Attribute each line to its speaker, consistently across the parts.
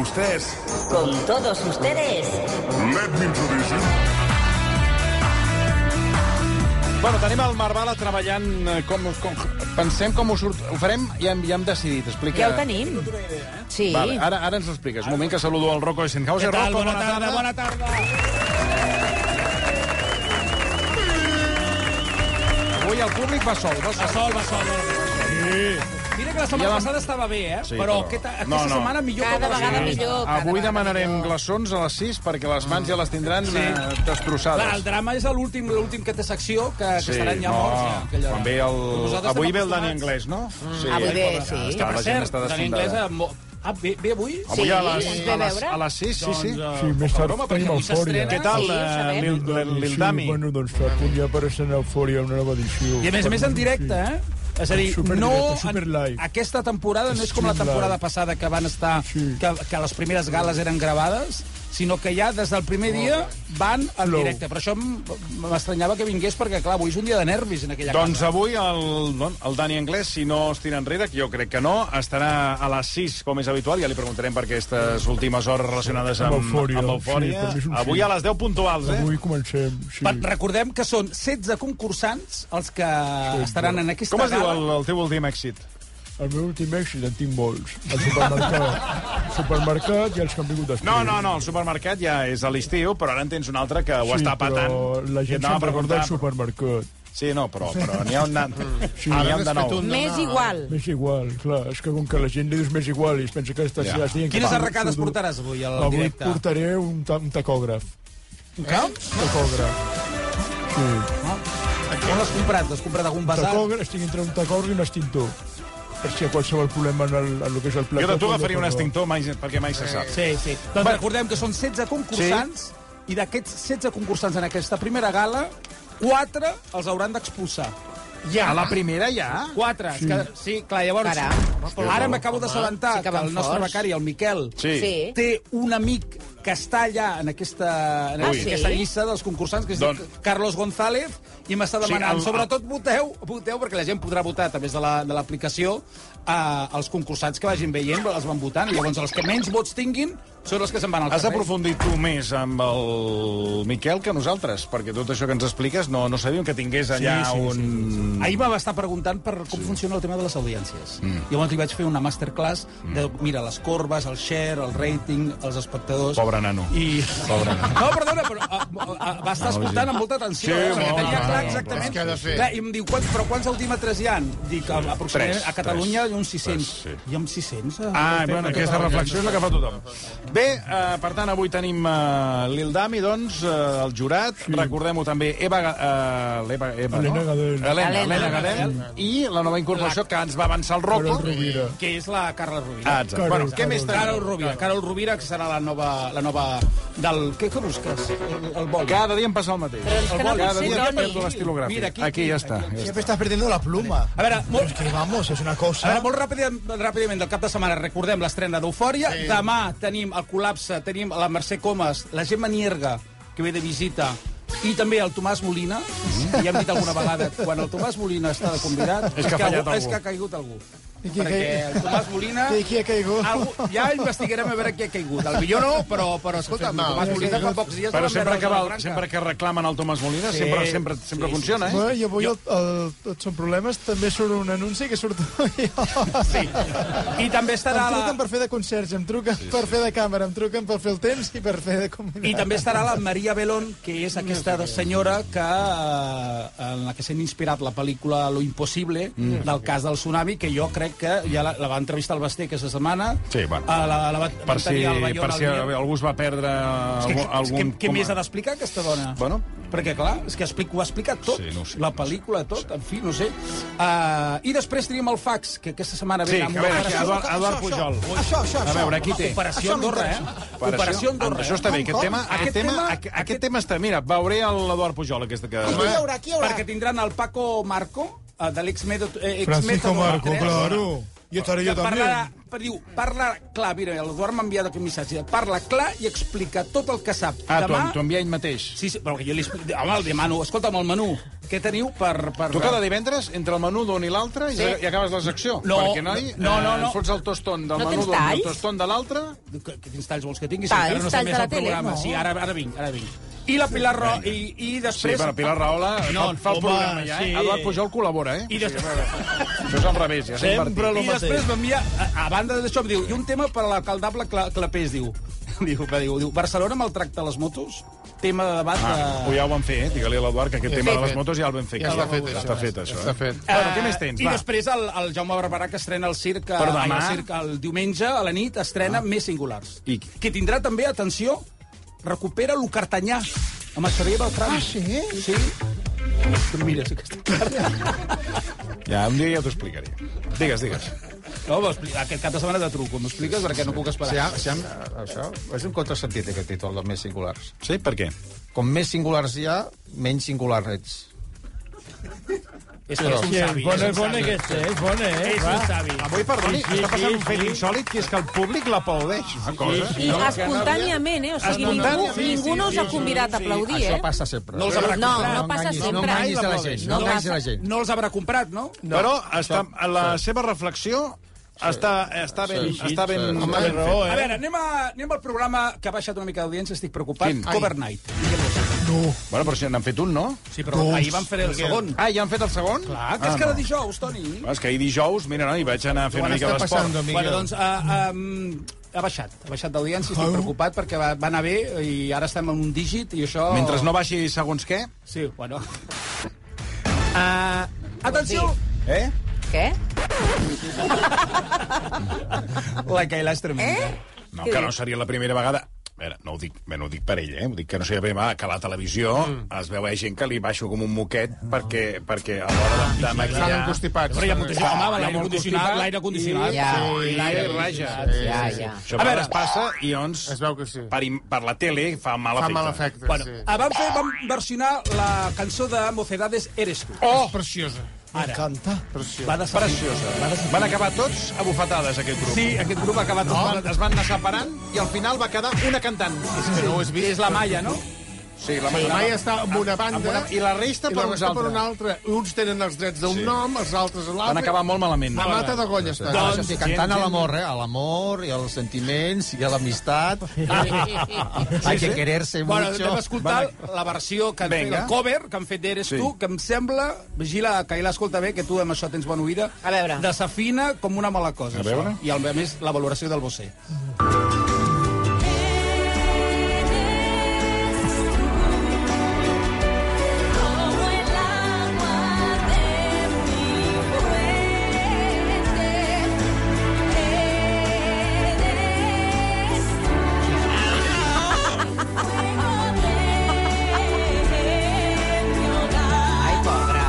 Speaker 1: ustedes.
Speaker 2: Con todos ustedes.
Speaker 1: Let me introduce you.
Speaker 3: Bueno, tenim el Marvala treballant eh, com, com... Pensem com ho, surt... ho farem, ja, hem- ja hem decidit. Explica...
Speaker 4: Ja ho tenim. Sí.
Speaker 3: Vale, ara, ara ens ho expliques. Un moment que saludo el Rocco Eisenhauser. Rocco,
Speaker 5: tarda.
Speaker 3: Avui el públic va sol, va
Speaker 5: Va
Speaker 3: sol.
Speaker 5: sol, va sol. Sí. Mira que la setmana
Speaker 3: Ja vam-
Speaker 5: passada estava bé, eh?
Speaker 3: Sí,
Speaker 5: però,
Speaker 3: però-
Speaker 5: aquesta, aquesta
Speaker 3: No, no.
Speaker 5: setmana millor
Speaker 4: Cada
Speaker 5: que la
Speaker 4: vegada
Speaker 5: passada.
Speaker 4: millor. cada
Speaker 3: Avui
Speaker 4: vegada
Speaker 3: demanarem
Speaker 4: millor.
Speaker 3: glaçons a les 6 perquè les mans ja les tindran sí. destrossades.
Speaker 5: Clar, el drama és l'últim l'últim que té secció, que, que estaran ja
Speaker 3: no,
Speaker 5: morts. Ja, aquella...
Speaker 3: quan ve el...
Speaker 5: Nosaltres
Speaker 3: Avui
Speaker 5: estem
Speaker 3: ve el Dani
Speaker 5: acostumats.
Speaker 3: Anglès, no? Mm. Sí,
Speaker 4: Avui ve, Ah, sí.
Speaker 3: Està,
Speaker 5: Per
Speaker 3: la gent
Speaker 5: cert,
Speaker 3: està
Speaker 5: Dani
Speaker 3: desfondada.
Speaker 5: Anglès... Mo... Ah, ve, ve avui?
Speaker 3: Avui a les,
Speaker 4: ens ve
Speaker 3: a
Speaker 4: a
Speaker 3: les,
Speaker 4: veure?
Speaker 3: a les 6, sí, sí.
Speaker 5: Doncs,
Speaker 6: Sí, més tard tenim
Speaker 5: avui
Speaker 6: Eufòria.
Speaker 5: s'estrena.
Speaker 3: Què tal,
Speaker 4: Sí, ho
Speaker 3: eh,
Speaker 4: sabem.
Speaker 3: Lil, Lil, Lil Dami?
Speaker 6: Sí, bueno, doncs fa poc ja apareixen a Eufòria una nova edició.
Speaker 5: I a més a més en directe, eh? És a dir,
Speaker 6: Superdirecte,
Speaker 5: no, en,
Speaker 6: superlive.
Speaker 5: aquesta temporada no és com la
Speaker 6: Stream
Speaker 5: temporada
Speaker 6: live.
Speaker 5: passada que van estar,
Speaker 6: Sí.
Speaker 5: que, que les primeres gales eren gravades, sinó que ja des del primer dia van en
Speaker 6: Flow.
Speaker 5: directe. Per això m- m'estranyava que vingués, perquè clar, avui és un dia de nervis en aquella
Speaker 3: Doncs
Speaker 5: casa.
Speaker 3: avui el, don- el Dani Anglès, si no es tira enrere, que jo crec que no, estarà a les 6, com és habitual, ja li preguntarem per aquestes últimes hores relacionades amb,
Speaker 6: Amb eufòria,
Speaker 3: amb eufòria.
Speaker 6: sí, per mi és un
Speaker 3: avui
Speaker 6: sí.
Speaker 3: a les 10 puntuals, eh?
Speaker 6: Avui comencem, sí.
Speaker 5: Per, recordem que són 16 concursants els que estaran en aquesta
Speaker 3: Com es diu
Speaker 5: gala.
Speaker 3: el, el teu últim èxit?
Speaker 6: El meu últim èxit en tinc molts. El supermercat. El supermercat i els que han vingut després.
Speaker 3: No, no, no, el supermercat ja és a l'estiu, però ara en tens un altre que ho
Speaker 6: Sí,
Speaker 3: està patant.
Speaker 6: però la
Speaker 3: I et
Speaker 6: gent
Speaker 3: anava a
Speaker 6: se'n recorda
Speaker 3: preguntar-
Speaker 6: el supermercat.
Speaker 3: Sí, no, però, però n'hi ha un... Na... Sí,
Speaker 6: Sí.
Speaker 3: n'hi
Speaker 6: Ara
Speaker 3: ha un de
Speaker 7: n'has fet
Speaker 3: nou.
Speaker 7: un.
Speaker 4: M'és igual.
Speaker 6: M'és igual, clar. És que com que la gent li dius m'és igual i es pensa que estàs
Speaker 3: Ja.
Speaker 6: ja. dient... que
Speaker 5: Quines
Speaker 6: va,
Speaker 5: arracades
Speaker 6: surto-
Speaker 5: portaràs avui al
Speaker 6: Avui
Speaker 5: directe?
Speaker 6: portaré un, ta un tacògraf.
Speaker 5: Un camp?
Speaker 6: Tacògraf. Sí.
Speaker 5: On l'has comprat? L'has comprat a algun
Speaker 6: Un
Speaker 5: basar?
Speaker 6: tacògraf, estic entre un tacògraf i un extintor. Per si hi ha qualsevol problema en el, en el que és el plat.
Speaker 3: Jo de tu agafaria un extintor mai, perquè mai se sap.
Speaker 5: Sí, sí. Doncs recordem que són 16 concursants sí. i d'aquests 16 concursants en aquesta primera gala, 4 els hauran d'expulsar.
Speaker 3: Ja, a la primera ja?
Speaker 5: 4. Sí. Que, sí, clar, llavors...
Speaker 4: Caram.
Speaker 5: Ara m'acabo
Speaker 4: sí
Speaker 5: d'assabentar sí
Speaker 4: que
Speaker 5: que,
Speaker 4: van
Speaker 5: el nostre
Speaker 4: forts.
Speaker 5: becari, el Miquel,
Speaker 3: Sí.
Speaker 4: Sí.
Speaker 5: té un amic que està allà en aquesta, en
Speaker 4: Ah,
Speaker 5: aquesta
Speaker 4: sí?
Speaker 5: llista dels concursants, que és
Speaker 3: Doncs-
Speaker 5: Carlos González, i m'està
Speaker 3: sigui,
Speaker 5: demanant,
Speaker 3: el-
Speaker 5: sí, sobretot voteu, voteu, perquè la gent podrà votar a través de la- de l'aplicació la, eh, els concursants que vagin veient, els van votant, i llavors els que menys vots tinguin són els que se'n van al
Speaker 3: Has
Speaker 5: carrer.
Speaker 3: aprofundit tu més amb el Miquel que nosaltres, perquè tot això que ens expliques no, no sabíem que tingués allà sí, sí, un... Sí, sí.
Speaker 5: Ahir va estar preguntant per com sí. funciona el tema de les audiències. Mm. Llavors li vaig fer una masterclass de, mira, les corbes, el share, el rating, els espectadors...
Speaker 3: Pobre nano.
Speaker 5: I... Pobre nano. No, perdona, però a, a, a, va estar escoltant amb molta atenció.
Speaker 3: Sí,
Speaker 5: eh? perquè
Speaker 3: home,
Speaker 5: tenia
Speaker 3: home,
Speaker 5: clar
Speaker 3: home,
Speaker 7: és
Speaker 5: exactament...
Speaker 7: que ha de fer.
Speaker 5: Clar, I em diu, quan, però quants altímetres hi ha? Dic, sí, aproximadament
Speaker 3: tres,
Speaker 5: a Catalunya
Speaker 3: tres,
Speaker 5: hi ha uns 600.
Speaker 3: tres,
Speaker 5: Hi ha uns 600? eh?
Speaker 3: Ah,
Speaker 5: Fem
Speaker 3: bueno,
Speaker 5: tota
Speaker 3: aquesta
Speaker 5: la-
Speaker 3: reflexió és la que fa tothom. Bé, eh, per tant, avui tenim eh, Lil Dami, doncs, eh, el jurat. Sí. Recordem-ho també, Eva... Ga- Eh, l'Eva, Eva,
Speaker 6: Helena
Speaker 3: no?
Speaker 6: Gadel.
Speaker 3: Helena,
Speaker 4: Helena
Speaker 3: Helena Gadel. I la nova incorporació que ens va avançar el Rocco.
Speaker 6: Carol Rovira.
Speaker 5: Que és la Carla Rovira.
Speaker 3: Ah, exacte.
Speaker 6: Carol,
Speaker 3: Bueno, què
Speaker 6: Carol.
Speaker 3: més
Speaker 5: Carol
Speaker 3: tenim?
Speaker 5: Rovira. Carol Rovira, que serà la nova... La nova del... Què, què busques? El, el vol.
Speaker 3: Cada dia em passa el mateix.
Speaker 4: Però és que no
Speaker 3: Cada
Speaker 4: pot ser,
Speaker 3: dia
Speaker 4: Doni.
Speaker 3: perdo l'estilogràfic.
Speaker 5: Mira, aquí,
Speaker 3: aquí, ja
Speaker 5: aquí,
Speaker 3: està.
Speaker 5: aquí.
Speaker 3: ja
Speaker 7: Siempre estás perdiendo la pluma.
Speaker 5: A veure, molt,
Speaker 7: Que vamos, es una
Speaker 5: A
Speaker 7: cosa...
Speaker 5: veure, molt ràpid, ràpidament, del cap de setmana, recordem l'estrena d'Eufòria. Sí. Demà tenim el col·lapse, tenim la Mercè Comas, la Gemma Nierga, que ve de visita, i també el Tomàs Molina, que ja hem dit alguna vegada, quan el Tomàs Molina està de convidat,
Speaker 3: Mm. És que ha fallat
Speaker 5: algú,
Speaker 3: algú.
Speaker 5: és que ha caigut algú.
Speaker 7: I qui ha
Speaker 5: Perquè
Speaker 7: caigut?
Speaker 5: el Tomàs Molina...
Speaker 7: I qui ha caigut?
Speaker 5: Algú, ja investigarem a veure qui ha caigut. El millor no, però, però escolta, el Tomàs Molina fa pocs dies...
Speaker 3: Però
Speaker 5: van
Speaker 3: sempre
Speaker 5: veure
Speaker 3: que,
Speaker 5: la
Speaker 3: val,
Speaker 5: Branca.
Speaker 3: sempre que reclamen el Tomàs Molina, sí. sempre, sempre, sempre sí, funciona, eh?
Speaker 7: Ah, Bueno, i avui el, el, Tots són problemes també surt un anunci que surto jo.
Speaker 5: Sí. I també estarà...
Speaker 7: Em
Speaker 5: la-
Speaker 7: truquen per fer de concerts, em truquen sí, sí. per fer de càmera, em truquen per fer el temps i per fer de comunitat.
Speaker 5: I també estarà la Maria Belón, que és aquesta senyora que, eh, en la que s'han inspirat la pel·lícula Lo Impossible, mm. del cas del tsunami, que jo crec que ja la, la va entrevistar el Basté aquesta setmana.
Speaker 3: Sí, bueno.
Speaker 5: Eh, La, la va,
Speaker 3: Per si, per si algú es va perdre
Speaker 5: És que,
Speaker 3: algun...
Speaker 5: és que, què
Speaker 3: com-
Speaker 5: més ha d'explicar aquesta dona?
Speaker 3: Bueno.
Speaker 5: Perquè, clar, és que explico, ho ha explicat tot.
Speaker 3: Sí, no ho sé,
Speaker 5: la
Speaker 3: no ho
Speaker 5: pel·lícula, tot, en fi, no ho sé. Uh, I després tenim el fax, que aquesta setmana
Speaker 3: Sí,
Speaker 5: ve...
Speaker 3: a veure, aquí, Eduard, Eduard Pujol.
Speaker 7: Això, això,
Speaker 3: A veure, aquí té.
Speaker 5: Operació Andorra, eh? Operació Andorra. eh?
Speaker 3: Això està bé, aquest tema, aquest, tema, aquest, aquest tema està... Mira, veuré el- l'Eduard Pujol, aquesta que...
Speaker 7: Qui hi haurà, qui hi haurà?
Speaker 5: Perquè tindran el Paco Marco, eh, de l'ex-mètode...
Speaker 6: Francisco Marco, claro. I estaré jo també.
Speaker 5: eh? Parlarà, per diu, parla clar, mira, l'Eduard m'ha enviat aquest missatge, parla clar i explica tot el que sap.
Speaker 3: Ah, t'ho t'ho envia ell mateix.
Speaker 5: Sí, sí, però que jo li explico... Home, el demano, escolta'm, el menú, què teniu per... per...
Speaker 3: Tu cada divendres, entre el menú d'un i l'altre, sí. i acabes la secció.
Speaker 5: No,
Speaker 3: perquè, noi,
Speaker 5: no, no,
Speaker 3: eh,
Speaker 5: no.
Speaker 3: fots el toston del
Speaker 8: No
Speaker 3: menú
Speaker 8: tens
Speaker 3: d'un i el
Speaker 8: talls?
Speaker 3: toston de l'altre.
Speaker 5: Que- que- Quins talls vols que tingui?
Speaker 8: Talls,
Speaker 5: encara no sé
Speaker 8: Ah, talls
Speaker 5: més
Speaker 8: de la
Speaker 5: el
Speaker 8: tele,
Speaker 5: programa.
Speaker 8: no.
Speaker 5: Sí, ara, ara vinc, ara vinc. I la Pilar Ro... I, i
Speaker 3: Sí,
Speaker 5: després...
Speaker 3: però Pilar Rahola no, fa, fa el
Speaker 7: home,
Speaker 3: programa ja, eh?
Speaker 7: sí.
Speaker 3: Eduard Pujol col·labora, eh?
Speaker 5: I després...
Speaker 3: Això és al revés, ja s'ha
Speaker 7: Sempre
Speaker 3: invertit.
Speaker 7: el
Speaker 5: I després
Speaker 7: mateix.
Speaker 5: m'envia, a, a banda d'això, em diu, i un tema per a l'alcaldable Cla Clapés, diu. Diu, va, diu, diu, Barcelona maltracta les motos? Tema de debat...
Speaker 3: Ah,
Speaker 5: de...
Speaker 3: ja ho van fer, eh? Digue-li a l'Eduard que aquest tema de les motos ja el vam fer.
Speaker 9: Ja
Speaker 3: aquí.
Speaker 9: està fet, això.
Speaker 3: està fet, això.
Speaker 9: Està
Speaker 3: eh?
Speaker 9: fet.
Speaker 3: Bueno, què més tens?
Speaker 5: I
Speaker 3: Va.
Speaker 5: després el, el Jaume Barberà, que estrena el circ,
Speaker 3: Però
Speaker 5: ai,
Speaker 3: demà?
Speaker 5: el, circ el diumenge a la nit, estrena ah. Més Singulars.
Speaker 3: I-
Speaker 5: Que tindrà també, atenció, recupera lo cartanyà amb el Xavier Beltrán. Ah, sí? Sí. Tu mires aquesta carta.
Speaker 3: Ja, un dia ja t'ho explicaré. Digues, digues.
Speaker 5: No, m'ho explica- aquest cap de setmana de truco, m'ho expliques perquè no puc
Speaker 9: Si
Speaker 5: esperar.
Speaker 9: ha, si ha, ah, això és un contrasentit, aquest títol, dels més singulars.
Speaker 3: Sí, per què?
Speaker 9: Com més singulars hi ha, menys singular ets.
Speaker 5: És, que és un
Speaker 6: És
Speaker 5: savi.
Speaker 6: bona, és bona aquesta, eh? és bona, eh?
Speaker 5: És un savi.
Speaker 3: Avui, perdoni,
Speaker 6: Sí, sí,
Speaker 3: està passant
Speaker 6: sí,
Speaker 3: un fet
Speaker 6: sí.
Speaker 3: insòlid, que és que el públic l'aplaudeix. Una cosa.
Speaker 8: I espontàniament, eh? O sigui, ningú,
Speaker 3: Espontàniament, sí,
Speaker 8: ningú no us ha convidat a aplaudir,
Speaker 9: Això
Speaker 8: eh?
Speaker 9: passa sempre.
Speaker 5: No els haurà
Speaker 8: No,
Speaker 5: comprat.
Speaker 8: no passa
Speaker 9: enganyis,
Speaker 8: sempre.
Speaker 9: No enganyis a la gent. No
Speaker 8: No
Speaker 9: enganyis a la
Speaker 8: passa.
Speaker 9: gent.
Speaker 5: No els haurà comprat, no?
Speaker 3: No, però està, la seva reflexió està, està ben...
Speaker 9: sí,
Speaker 3: està ben
Speaker 9: sí, sí.
Speaker 3: Home,
Speaker 9: Té
Speaker 3: raó,
Speaker 5: A veure, anem, a, anem al programa que ha baixat una mica d'audiència, estic preocupat.
Speaker 3: Quin?
Speaker 5: Cover Night.
Speaker 3: Bueno, però si n'han fet un, no?
Speaker 5: Sí, però ahir van fer Doncs el Ah, segon.
Speaker 3: Ah, ja han fet el segon?
Speaker 5: Clar, que és cada dijous, Toni.
Speaker 3: Ah, és que ahir dijous, mira, no, hi vaig anar a fer
Speaker 9: Quan
Speaker 3: una mica
Speaker 9: està passant,
Speaker 3: d'esport.
Speaker 9: Miguel?
Speaker 5: Bueno, doncs, uh, um, ha baixat, ha baixat d'audiència, estic preocupat perquè va, va anar bé i ara estem en un dígit i això...
Speaker 3: Mentre no baixi segons què...
Speaker 5: Sí, bueno. Uh, atenció!
Speaker 3: Eh?
Speaker 8: Què?
Speaker 5: La Cailà és tremenda. Eh?
Speaker 3: No, que no seria la primera vegada... A veure, no ho dic, bé, no ho dic per ell, eh? Ho dic que no seria la primera vegada que a la televisió es veu eh, gent que li baixo com un moquet perquè, perquè a l'hora de, de maquillar...
Speaker 9: Estan constipats.
Speaker 5: Però hi ha molta gent. Home,
Speaker 3: hi ha
Speaker 5: l'aire
Speaker 3: molt
Speaker 5: condicionat,
Speaker 3: constipat
Speaker 5: l'aire condicionat.
Speaker 8: Ja,
Speaker 3: L'aire raja.
Speaker 8: ja, ja.
Speaker 3: Això a veure, es passa i llavors
Speaker 9: Es veu que sí.
Speaker 3: per, im- per la tele fa mal
Speaker 9: Fa
Speaker 3: efecte.
Speaker 9: mal efecte,
Speaker 5: Bueno,
Speaker 9: sí.
Speaker 5: ah, van, fer, van versionar la cançó de Mocedades Eres tu.
Speaker 9: Oh! Preciosa.
Speaker 5: Ara,
Speaker 7: Canta.
Speaker 5: va de Preciosa. Va de
Speaker 3: Van acabar tots a bufetades, aquest grup.
Speaker 5: Sí, aquest grup ha acabat
Speaker 3: Es,
Speaker 5: no.
Speaker 3: van, es van anar separant i al final va quedar una cantant.
Speaker 9: No ho has vist?
Speaker 5: És la Maia, no?
Speaker 3: Sí, la
Speaker 9: La Maia està amb una banda...
Speaker 3: amb una- i la resta
Speaker 9: i
Speaker 3: per
Speaker 9: la
Speaker 3: uns
Speaker 9: resta per
Speaker 3: altres.
Speaker 9: una altra. Uns tenen els drets d'un
Speaker 3: Sí.
Speaker 9: nom, els altres a
Speaker 3: Van
Speaker 9: l'altre.
Speaker 3: acabar molt malament.
Speaker 9: A mata de golla està.
Speaker 5: Doncs,
Speaker 9: Això sí,
Speaker 5: gent,
Speaker 9: cantant a
Speaker 5: gent.
Speaker 9: l'amor, eh? A l'amor i als sentiments i a l'amistat. Hay que quererse
Speaker 5: Bueno,
Speaker 9: mucho.
Speaker 5: anem a escoltar la versió que han fet,
Speaker 3: Vinga.
Speaker 5: el cover que han fet d'Eres
Speaker 3: Sí.
Speaker 5: tu, que em sembla, vigila, Cailà, escolta bé, que tu amb això tens bona oïda,
Speaker 8: A veure.
Speaker 5: desafina com una mala cosa.
Speaker 3: A veure.
Speaker 5: Això. I a més, la valoració del Bosé.
Speaker 10: Como el agua de mi fuente, eres tú. Fuego de mi hogar,
Speaker 8: Ai, pobra.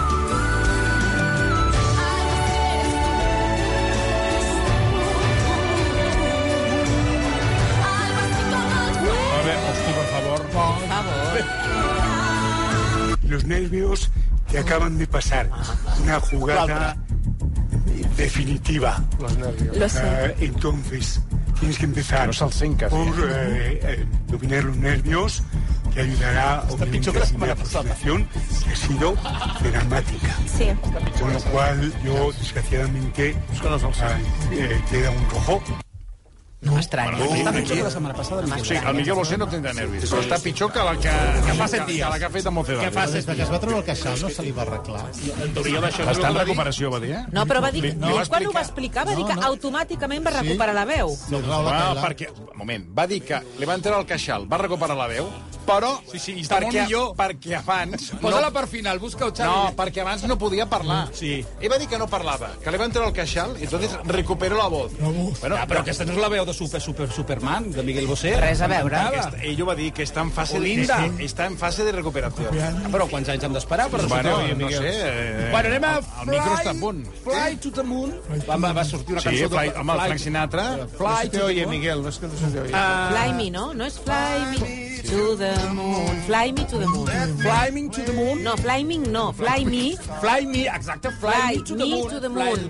Speaker 10: algo así como el fuego.
Speaker 3: A veure, hosti, per favor.
Speaker 8: Per favor.
Speaker 11: Los nervios te acaban de pasar una jugada definitiva.
Speaker 8: Lo sé.
Speaker 11: Ah, entonces, tienes que empezar
Speaker 3: No se'l sent, quasi.
Speaker 11: por eh, eh, dominar los nervios, que ayudará obviamente a la aproximación, que ha sido dramática.
Speaker 10: Sí.
Speaker 11: Con lo cual, yo, desgraciadamente, ah, eh, queda un rojo.
Speaker 8: Estrany.
Speaker 5: Està pitjor que la setmana passada. Miquel.
Speaker 3: Sí, el Miguel Bosé no tindrà nervis, però està pitjor que la que, que, fa set dies. Que la que ha fet a Mocedades.
Speaker 5: Fa set
Speaker 7: Des de que es va treure el queixal no se li va arreglar.
Speaker 3: Està en recuperació, va dir, eh?
Speaker 8: No, però va dir...
Speaker 3: Li- li
Speaker 8: No,
Speaker 3: va
Speaker 8: quan ho va
Speaker 3: explicar.
Speaker 8: explicar, va dir que automàticament va recuperar la veu.
Speaker 7: No,
Speaker 3: Ah, perquè... Un moment. Va dir que li van treure el queixal, va recuperar la veu, però...
Speaker 5: Sí, sí, i està molt
Speaker 3: perquè,
Speaker 5: millor.
Speaker 3: Perquè abans...
Speaker 5: Posa-la per final, busca-ho,
Speaker 3: No,
Speaker 5: Xavi.
Speaker 3: perquè abans no podia parlar.
Speaker 5: Sí.
Speaker 3: Ell va dir que no parlava, que li van treure el queixal i entonces recuperó la voz. No, bueno,
Speaker 5: Ah, però aquesta no és la veu de Super, Super Superman, de Miguel Bosé.
Speaker 8: Res a veure.
Speaker 5: Aquesta-
Speaker 3: aquesta, ell ho va dir, que està en fase,
Speaker 5: Olinda.
Speaker 3: de, està en fase de recuperació.
Speaker 5: Ah, Però quants anys hem d'esperar per
Speaker 3: Bueno,
Speaker 5: resultar?
Speaker 3: no sé... Eh,
Speaker 5: Bueno, anem a
Speaker 3: el, el micro està a punt.
Speaker 5: Fly to the Moon. Va, va, va sortir una
Speaker 3: Sí,
Speaker 5: cançó...
Speaker 3: fly, amb el Frank
Speaker 5: Fly,
Speaker 3: Sinatra...
Speaker 5: fly to the Moon.
Speaker 9: Miguel, no es que no se te oye.
Speaker 8: Fly me, no? No és fly me to the moon. Fly me to the moon.
Speaker 5: Flying to the Moon.
Speaker 8: No, fly me no. Fly me
Speaker 5: Fly me, exacte,
Speaker 8: Fly
Speaker 5: fly, me to the
Speaker 8: me
Speaker 5: moon.
Speaker 8: to the
Speaker 5: Fly
Speaker 8: moon.
Speaker 5: to the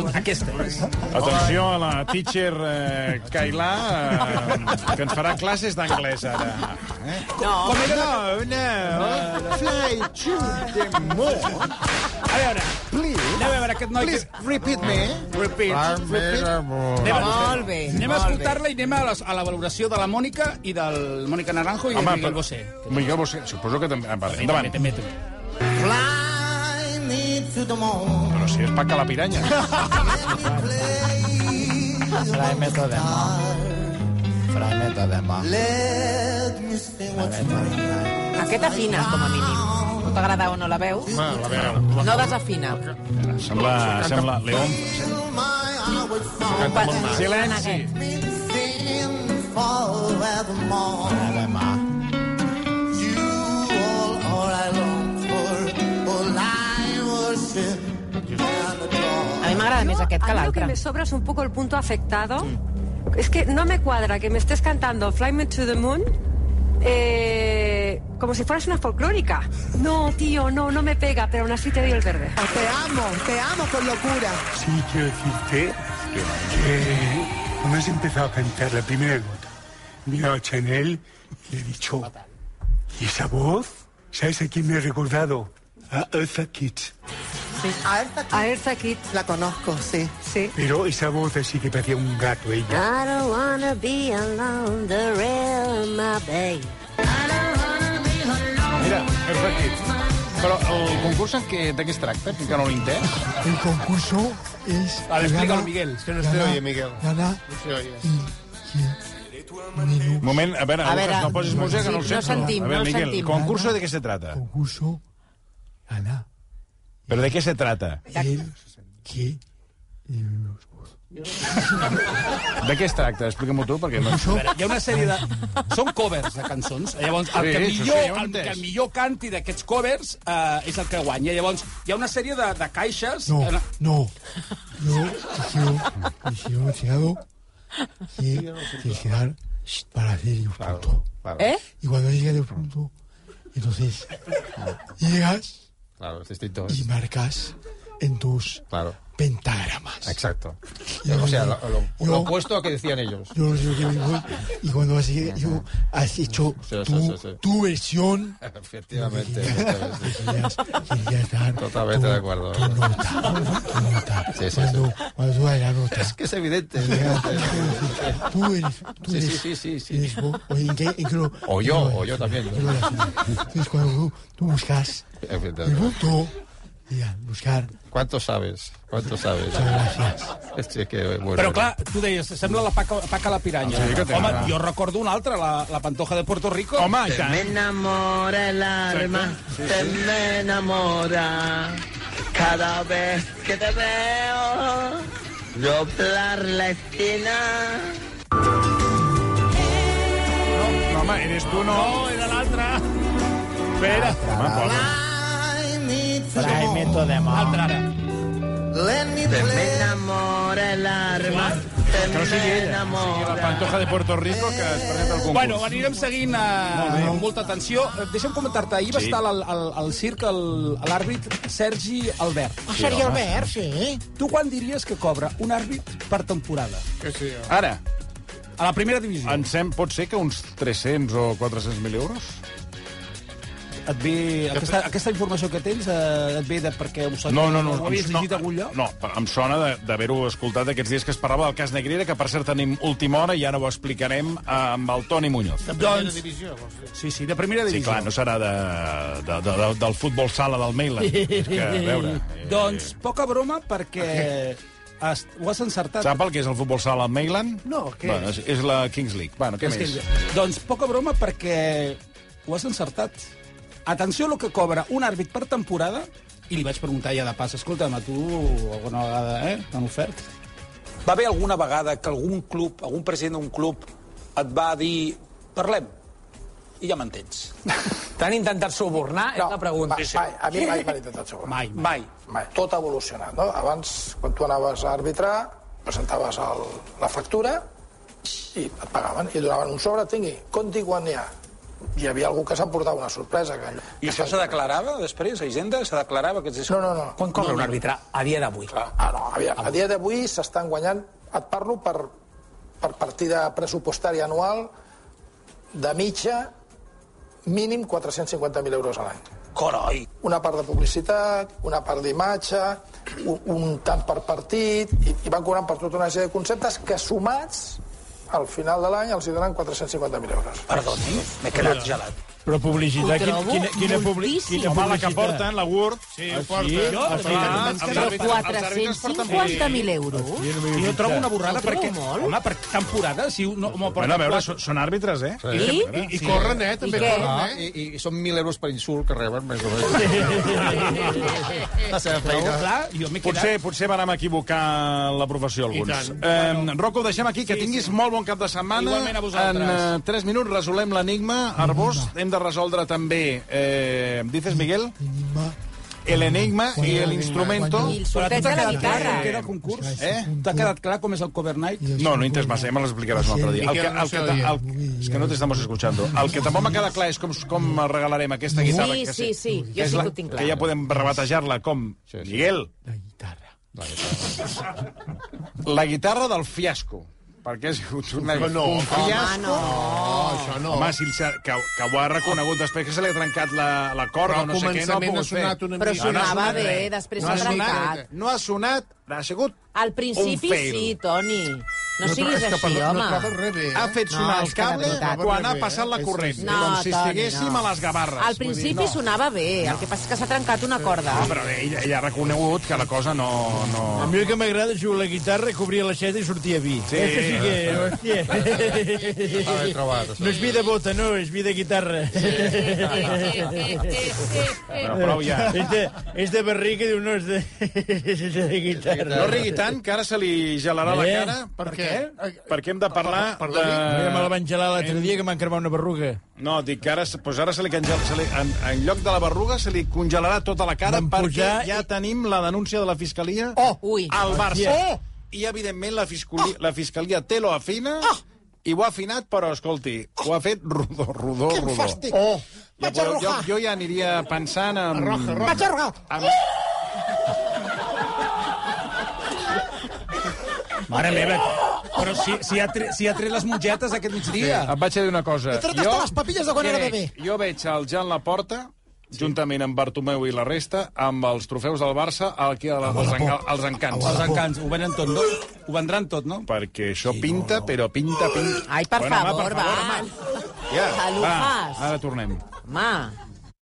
Speaker 5: moon. Aquesta és.
Speaker 3: Atenció a la teacher eh, Kailà, eh, que ens farà classes d'anglès ara. Eh?
Speaker 9: No.
Speaker 3: Com era? No,
Speaker 9: Eh,
Speaker 3: no. Fly to the moon.
Speaker 5: A veure, please, anem a veure aquest noi...
Speaker 12: Please, repeat me.
Speaker 5: Repeat.
Speaker 3: Ah.
Speaker 12: Repeat.
Speaker 5: Anem a,
Speaker 12: Molt bé,
Speaker 5: anem a
Speaker 12: molt
Speaker 5: escoltar-la i anem a, les, a la valoració de la Mònica i del Mònica Naranjo i del
Speaker 3: Home,
Speaker 5: Miguel
Speaker 3: però-
Speaker 5: Bosé.
Speaker 3: Miguel Bosé, suposo que també... Ah, vale, endavant.
Speaker 5: També, també.
Speaker 9: Fly me to the moon.
Speaker 3: Però si és Paca la Piranya.
Speaker 12: Fly me to the Fly me to the
Speaker 9: Let me see what's going
Speaker 8: Aquest afina, com a mínim. No t'agrada o no la veus?
Speaker 12: La veu.
Speaker 8: No desafina.
Speaker 3: Sembla, sembla León.
Speaker 9: on. My outward
Speaker 8: Pas-
Speaker 3: Silenci.
Speaker 9: Singing forevermore. You all, all I long for, all I worship and adore.
Speaker 8: A mi m'agrada més aquest que
Speaker 13: A mí lo que
Speaker 8: l'altre.
Speaker 13: me sobra es un poco el punto afectado. Es que no me cuadra que me estés cantando Fly Me to the Moon eh, como si fueras una folclórica. No, tío, no, no me pega, pero aún así te doy el verde. Te amo, te amo con locura.
Speaker 6: Sí, quiero decirte que cuando has empezado a cantar la primera nota, he mirado a Chanel y he dicho, ¿y esa voz? ¿Sabes a quién me ha recordado? A Eartha Kitt.
Speaker 13: A Erza Kitt. La conozco, sí. Sí.
Speaker 6: Pero esa voz así que parecía un gato ella.
Speaker 9: I don't wanna be alone the real my babe.
Speaker 3: Mira, és aquí. Però el concurs en què, de què es tracta? Que no l'entens?
Speaker 14: El concurso es...
Speaker 3: A ver, explícalo,
Speaker 14: gana-
Speaker 3: Miguel. Es que no
Speaker 14: gana-
Speaker 3: se oye, Miguel.
Speaker 14: Gana...
Speaker 3: Moment, a veure,
Speaker 14: A veure,
Speaker 3: Lucas, no posis música, que no ho
Speaker 14: sí,
Speaker 3: sento.
Speaker 14: no sentim,
Speaker 3: a veure,
Speaker 14: no
Speaker 3: Miguel,
Speaker 14: sentim.
Speaker 3: concurso de què se trata?
Speaker 14: Concurso gana
Speaker 3: Però de què se trata?
Speaker 14: el que...
Speaker 3: De què es tracta? Explica'm-ho tu, perquè no...
Speaker 5: A veure, hi ha una sèrie de... Són covers de cançons. Llavors, el que
Speaker 3: Sí, això sí,
Speaker 5: millor,
Speaker 3: ja ho he
Speaker 5: el
Speaker 3: entès.
Speaker 5: que millor canti d'aquests covers eh, és el que guanya. Llavors, hi ha una sèrie de, de caixes... eh,
Speaker 14: No,
Speaker 5: en-
Speaker 14: no. Yo deseo, deseo deseado que quedar para hacer el punto.
Speaker 8: ¿Eh?
Speaker 14: Y cuando llegas el punto, entonces llegas
Speaker 12: Claro, es distinto.
Speaker 14: y marcas en tus
Speaker 12: Claro.
Speaker 14: pentagramas.
Speaker 12: Exacto. O sea, lo, lo- lo opuesto a que decían ellos.
Speaker 14: Yo no sé lo que me voy, y cuando has, yo, has hecho
Speaker 12: Sí, sí,
Speaker 14: tu,
Speaker 12: sí, sí.
Speaker 14: tu versión,
Speaker 12: Efectivamente.
Speaker 14: ya estar
Speaker 12: Totalmente de acuerdo. Sí, sí, sí.
Speaker 14: cuando, cuando tú das la nota.
Speaker 12: Es que es evidente. es evidente.
Speaker 14: Tú eres, tú
Speaker 12: Sí,
Speaker 14: eres,
Speaker 12: sí, sí, sí, sí.
Speaker 14: eres vos, o en qué- en qué lo-
Speaker 12: O yo, o yo también.
Speaker 14: en qué lo das. Entonces, cuando tú, tú buscas el punto, diga, buscar
Speaker 12: ¿Cuánto sabes? ¿Cuánto sabes? Es que, bueno,
Speaker 5: Però clar, tu deies, sembla la paca, paca la piranya.
Speaker 12: Ah, Sí, que té
Speaker 5: Home,
Speaker 12: ara.
Speaker 5: jo recordo una altra, la, la Pantoja de Puerto Rico.
Speaker 3: Home, i tant.
Speaker 5: Me
Speaker 9: enamora el alma, te me enamora. Cada vez que te veo, doblar la esquina.
Speaker 3: No, home, eres tu, no. No, era l'altre. Espera. Home, posa.
Speaker 12: Fly me to the moon.
Speaker 5: Altra ara.
Speaker 9: Let me me enamora el alma, te
Speaker 3: Que no sigui
Speaker 9: me
Speaker 3: ella, que sigui la
Speaker 9: enamora.
Speaker 3: Pantoja de Puerto Rico que es presenta al concurs.
Speaker 5: Bueno, anirem seguint eh, amb molta atenció. Eh, Deixa'm comentar-te, ahir va
Speaker 3: Sí.
Speaker 5: estar al, al, al circ el- l'àrbit Sergi Albert.
Speaker 3: Ah, Sergi Sí, home. Albert,
Speaker 5: sí. Tu quan diries que cobra un àrbit per temporada?
Speaker 3: Que sí, Ara.
Speaker 5: A la primera divisió.
Speaker 3: Pensem, pot ser que uns 300 o 400.000 euros?
Speaker 5: Et ve... Aquesta, aquesta informació que tens eh, et ve de perquè ho saps?
Speaker 3: No, no, no.
Speaker 5: Ho havies
Speaker 3: no,
Speaker 5: llegit a algun lloc?
Speaker 3: No, però em sona de- d'haver-ho escoltat aquests dies que es parlava del cas Negrera, que per cert tenim última hora i ara ho explicarem eh, amb el Toni Muñoz.
Speaker 5: Doncs... Sí, sí, de primera
Speaker 3: Sí,
Speaker 5: divisió.
Speaker 3: clar, no serà de, de, de, de, del futbol sala del Mailand. És que, a veure... eh,
Speaker 5: Doncs poca broma perquè has, ho has encertat.
Speaker 3: Sap el que és el futbol sala al Mailand?
Speaker 5: No, què
Speaker 3: bueno, és? És la Kings League. Bueno, què
Speaker 5: És que-
Speaker 3: més?
Speaker 5: Doncs poca broma perquè ho has encertat. Atenció a lo que cobra un àrbit per temporada i li vaig preguntar ja de pas, escolta'm, a tu alguna vegada eh, t'han ofert? Va haver alguna vegada que algun club, algun president d'un club et va dir parlem i ja m'entens.
Speaker 15: T'han intentat subornar? No, és la pregunta.
Speaker 16: Mai, mai, a mi mai m'han intentat segon.
Speaker 5: Mai,
Speaker 16: mai. mai. Tot ha evolucionat, no? Abans, quan tu anaves a arbitrar, presentaves el, la factura i et pagaven i donaven un sobre, tingui, compti quan n'hi ha.
Speaker 13: hi havia algú que s'emportava una sorpresa. Que...
Speaker 5: I això se declarava després, a Hisenda? Se declarava que...
Speaker 13: No, no, no.
Speaker 17: Com cobra un àrbitre a dia d'avui?
Speaker 13: Ah, no, a dia, a dia d'avui s'estan guanyant, et parlo per, per partida pressupostària anual, de mitja, mínim 450.000 euros a l'any.
Speaker 17: Coroi!
Speaker 13: Una part de publicitat, una part d'imatge, un, un tant per partit, i, i van cobrant per tota una sèrie de conceptes que sumats al final de l'any els hi donen 450.000 euros.
Speaker 17: Perdoni, m'he quedat gelat.
Speaker 6: Però publicitat,
Speaker 17: Ho
Speaker 6: quina,
Speaker 17: trobo
Speaker 6: quina, quina, publi,
Speaker 17: moltíssim.
Speaker 6: quina
Speaker 17: Home, la
Speaker 6: publicitat?
Speaker 17: que porten,
Speaker 6: la Word.
Speaker 3: ah, Sí,
Speaker 6: ho
Speaker 3: porten. Jo,
Speaker 6: porten.
Speaker 3: clar, els àrbitres-
Speaker 8: euros.
Speaker 5: Jo trobo una borrada
Speaker 8: Ho trobo
Speaker 5: perquè...
Speaker 8: molt.
Speaker 5: Home, per temporada, si un... No, home, per
Speaker 3: Bueno, a veure,
Speaker 5: quatre-
Speaker 3: són, són àrbitres, eh?
Speaker 9: I?
Speaker 3: I,
Speaker 9: Sí.
Speaker 3: corren, eh?
Speaker 9: també
Speaker 8: què?
Speaker 9: corren, eh? I, I són 1.000 euros per insult que reben, més o menys. La seva feina.
Speaker 5: clar, jo m'he quedat...
Speaker 3: Potser, potser vàrem equivocar la professió alguns.
Speaker 9: tant.
Speaker 3: Eh, Rocco, ho deixem aquí, que tinguis molt bon cap de setmana.
Speaker 5: Igualment a
Speaker 3: En
Speaker 5: vosaltres.
Speaker 3: eh, 3 minuts resolem l'enigma. Arbós, hem de resoldre també, eh, dices, Miguel? El enigma i el instrumento.
Speaker 8: I el sorteig de la guitarra.
Speaker 5: Queda el concurs? Eh? T'ha quedat clar com és el cover night?
Speaker 3: No, no entes más, ya me lo explicarás un altre dia. El que, el que, ta- el, és que no t'estamos escuchando. El que tampoc m'ha quedat clar és com, com regalarem aquesta guitarra.
Speaker 8: Sí,
Speaker 3: que
Speaker 8: sí, sí,
Speaker 3: que
Speaker 8: jo
Speaker 3: és
Speaker 8: sí
Speaker 3: la-
Speaker 8: que ho tinc clar.
Speaker 3: Que ja podem rebatejar-la com, Miguel, la guitarra del fiasco. Perquè ha sigut una...
Speaker 18: No, no.
Speaker 3: un fiasco.
Speaker 18: Home, no. Això no.
Speaker 3: Home, si el, sa- que, que ho ha reconegut després que se li ha trencat la, la corda
Speaker 18: Però
Speaker 3: o no sé què, no ha
Speaker 18: començament
Speaker 3: pogut
Speaker 18: ha sonat eh?
Speaker 3: fer.
Speaker 18: una
Speaker 8: Però sonava
Speaker 3: No, no ha sonat
Speaker 8: bé,
Speaker 3: res.
Speaker 8: després
Speaker 3: no ha
Speaker 8: s'ha
Speaker 3: sonat-
Speaker 8: trencat.
Speaker 3: No ha sonat, ha sigut
Speaker 8: Al principi
Speaker 3: Un fail.
Speaker 8: sí, Toni.
Speaker 18: No
Speaker 8: No, siguis
Speaker 18: trobes que
Speaker 8: així,
Speaker 18: parlo- no
Speaker 8: home.
Speaker 18: trobes res bé, eh?
Speaker 3: ha fet sonar
Speaker 8: No,
Speaker 3: no, el
Speaker 8: és que de
Speaker 3: cable
Speaker 8: veritat.
Speaker 3: quan ha
Speaker 18: Bé,
Speaker 3: passat la
Speaker 18: eh?
Speaker 3: corrent,
Speaker 8: No,
Speaker 3: com si
Speaker 8: Toni,
Speaker 3: estiguéssim
Speaker 8: no.
Speaker 3: a les gavarres.
Speaker 8: Al principi sonava bé, el que passa és que s'ha trencat una corda.
Speaker 3: Ah, però ell, ell ha reconegut que la cosa no... no...
Speaker 18: A mi el que m'agrada és jugar a la guitarra, cobrir l'aixeta i sortir a vi.
Speaker 3: Sí.
Speaker 18: Este sí que... Hòstia.
Speaker 9: Ah, ben trobat, això.
Speaker 18: No és vi de bota, no, és vi de guitarra.
Speaker 3: Bueno, prou ja.
Speaker 18: És de, és de barrica, diu, no, és de, és de guitarra.
Speaker 3: No rigui tant, que ara se li gelarà la
Speaker 18: Eh?
Speaker 3: cara. Per què? Perquè hem de parlar de...
Speaker 18: Ja me la van gelar
Speaker 3: Eh,
Speaker 18: l'altre dia, que m'han cremat una berruga.
Speaker 3: No, dic que ara, doncs ara se li congela, se li, en, en lloc de la berruga se li congelarà tota la cara
Speaker 18: Van
Speaker 3: perquè
Speaker 18: pujar
Speaker 3: ja tenim la denúncia de la Fiscalia
Speaker 18: Oh!
Speaker 8: Ui.
Speaker 3: al Barça. Oh!
Speaker 18: Hòstia.
Speaker 3: I, evidentment, la Fiscalia, la fiscalia té lo afina
Speaker 18: Oh!
Speaker 3: i ho ha afinat, però, escolti, ho ha fet rodó, rodó, rodó.
Speaker 18: Oh!
Speaker 3: Ja podeu, jo, jo ja aniria pensant en... Roja, roja. Vaig arrojar!
Speaker 18: Oh!
Speaker 3: En...
Speaker 5: Mare meva, però si, si, ha tre, si ha tret les mongetes aquest migdia.
Speaker 3: Et vaig a dir una cosa.
Speaker 19: trataste les papilles de quan era
Speaker 3: crec-
Speaker 19: bebè.
Speaker 3: Jo veig el Jan Laporta, sí. juntament amb Bartomeu i la resta, amb els trofeus del Barça, aquí a la, als, enga, als encants.
Speaker 5: Els encants, ho venen tot, no? Ho vendran tot, no?
Speaker 3: Perquè això sí, pinta, no, no. però pinta, pinta...
Speaker 8: Ai, per
Speaker 3: Bueno,
Speaker 8: favor,
Speaker 3: home, per favor,
Speaker 8: va.
Speaker 3: home. Ja,
Speaker 8: Salut,
Speaker 3: va,
Speaker 8: fas.
Speaker 3: ara tornem.
Speaker 8: Home,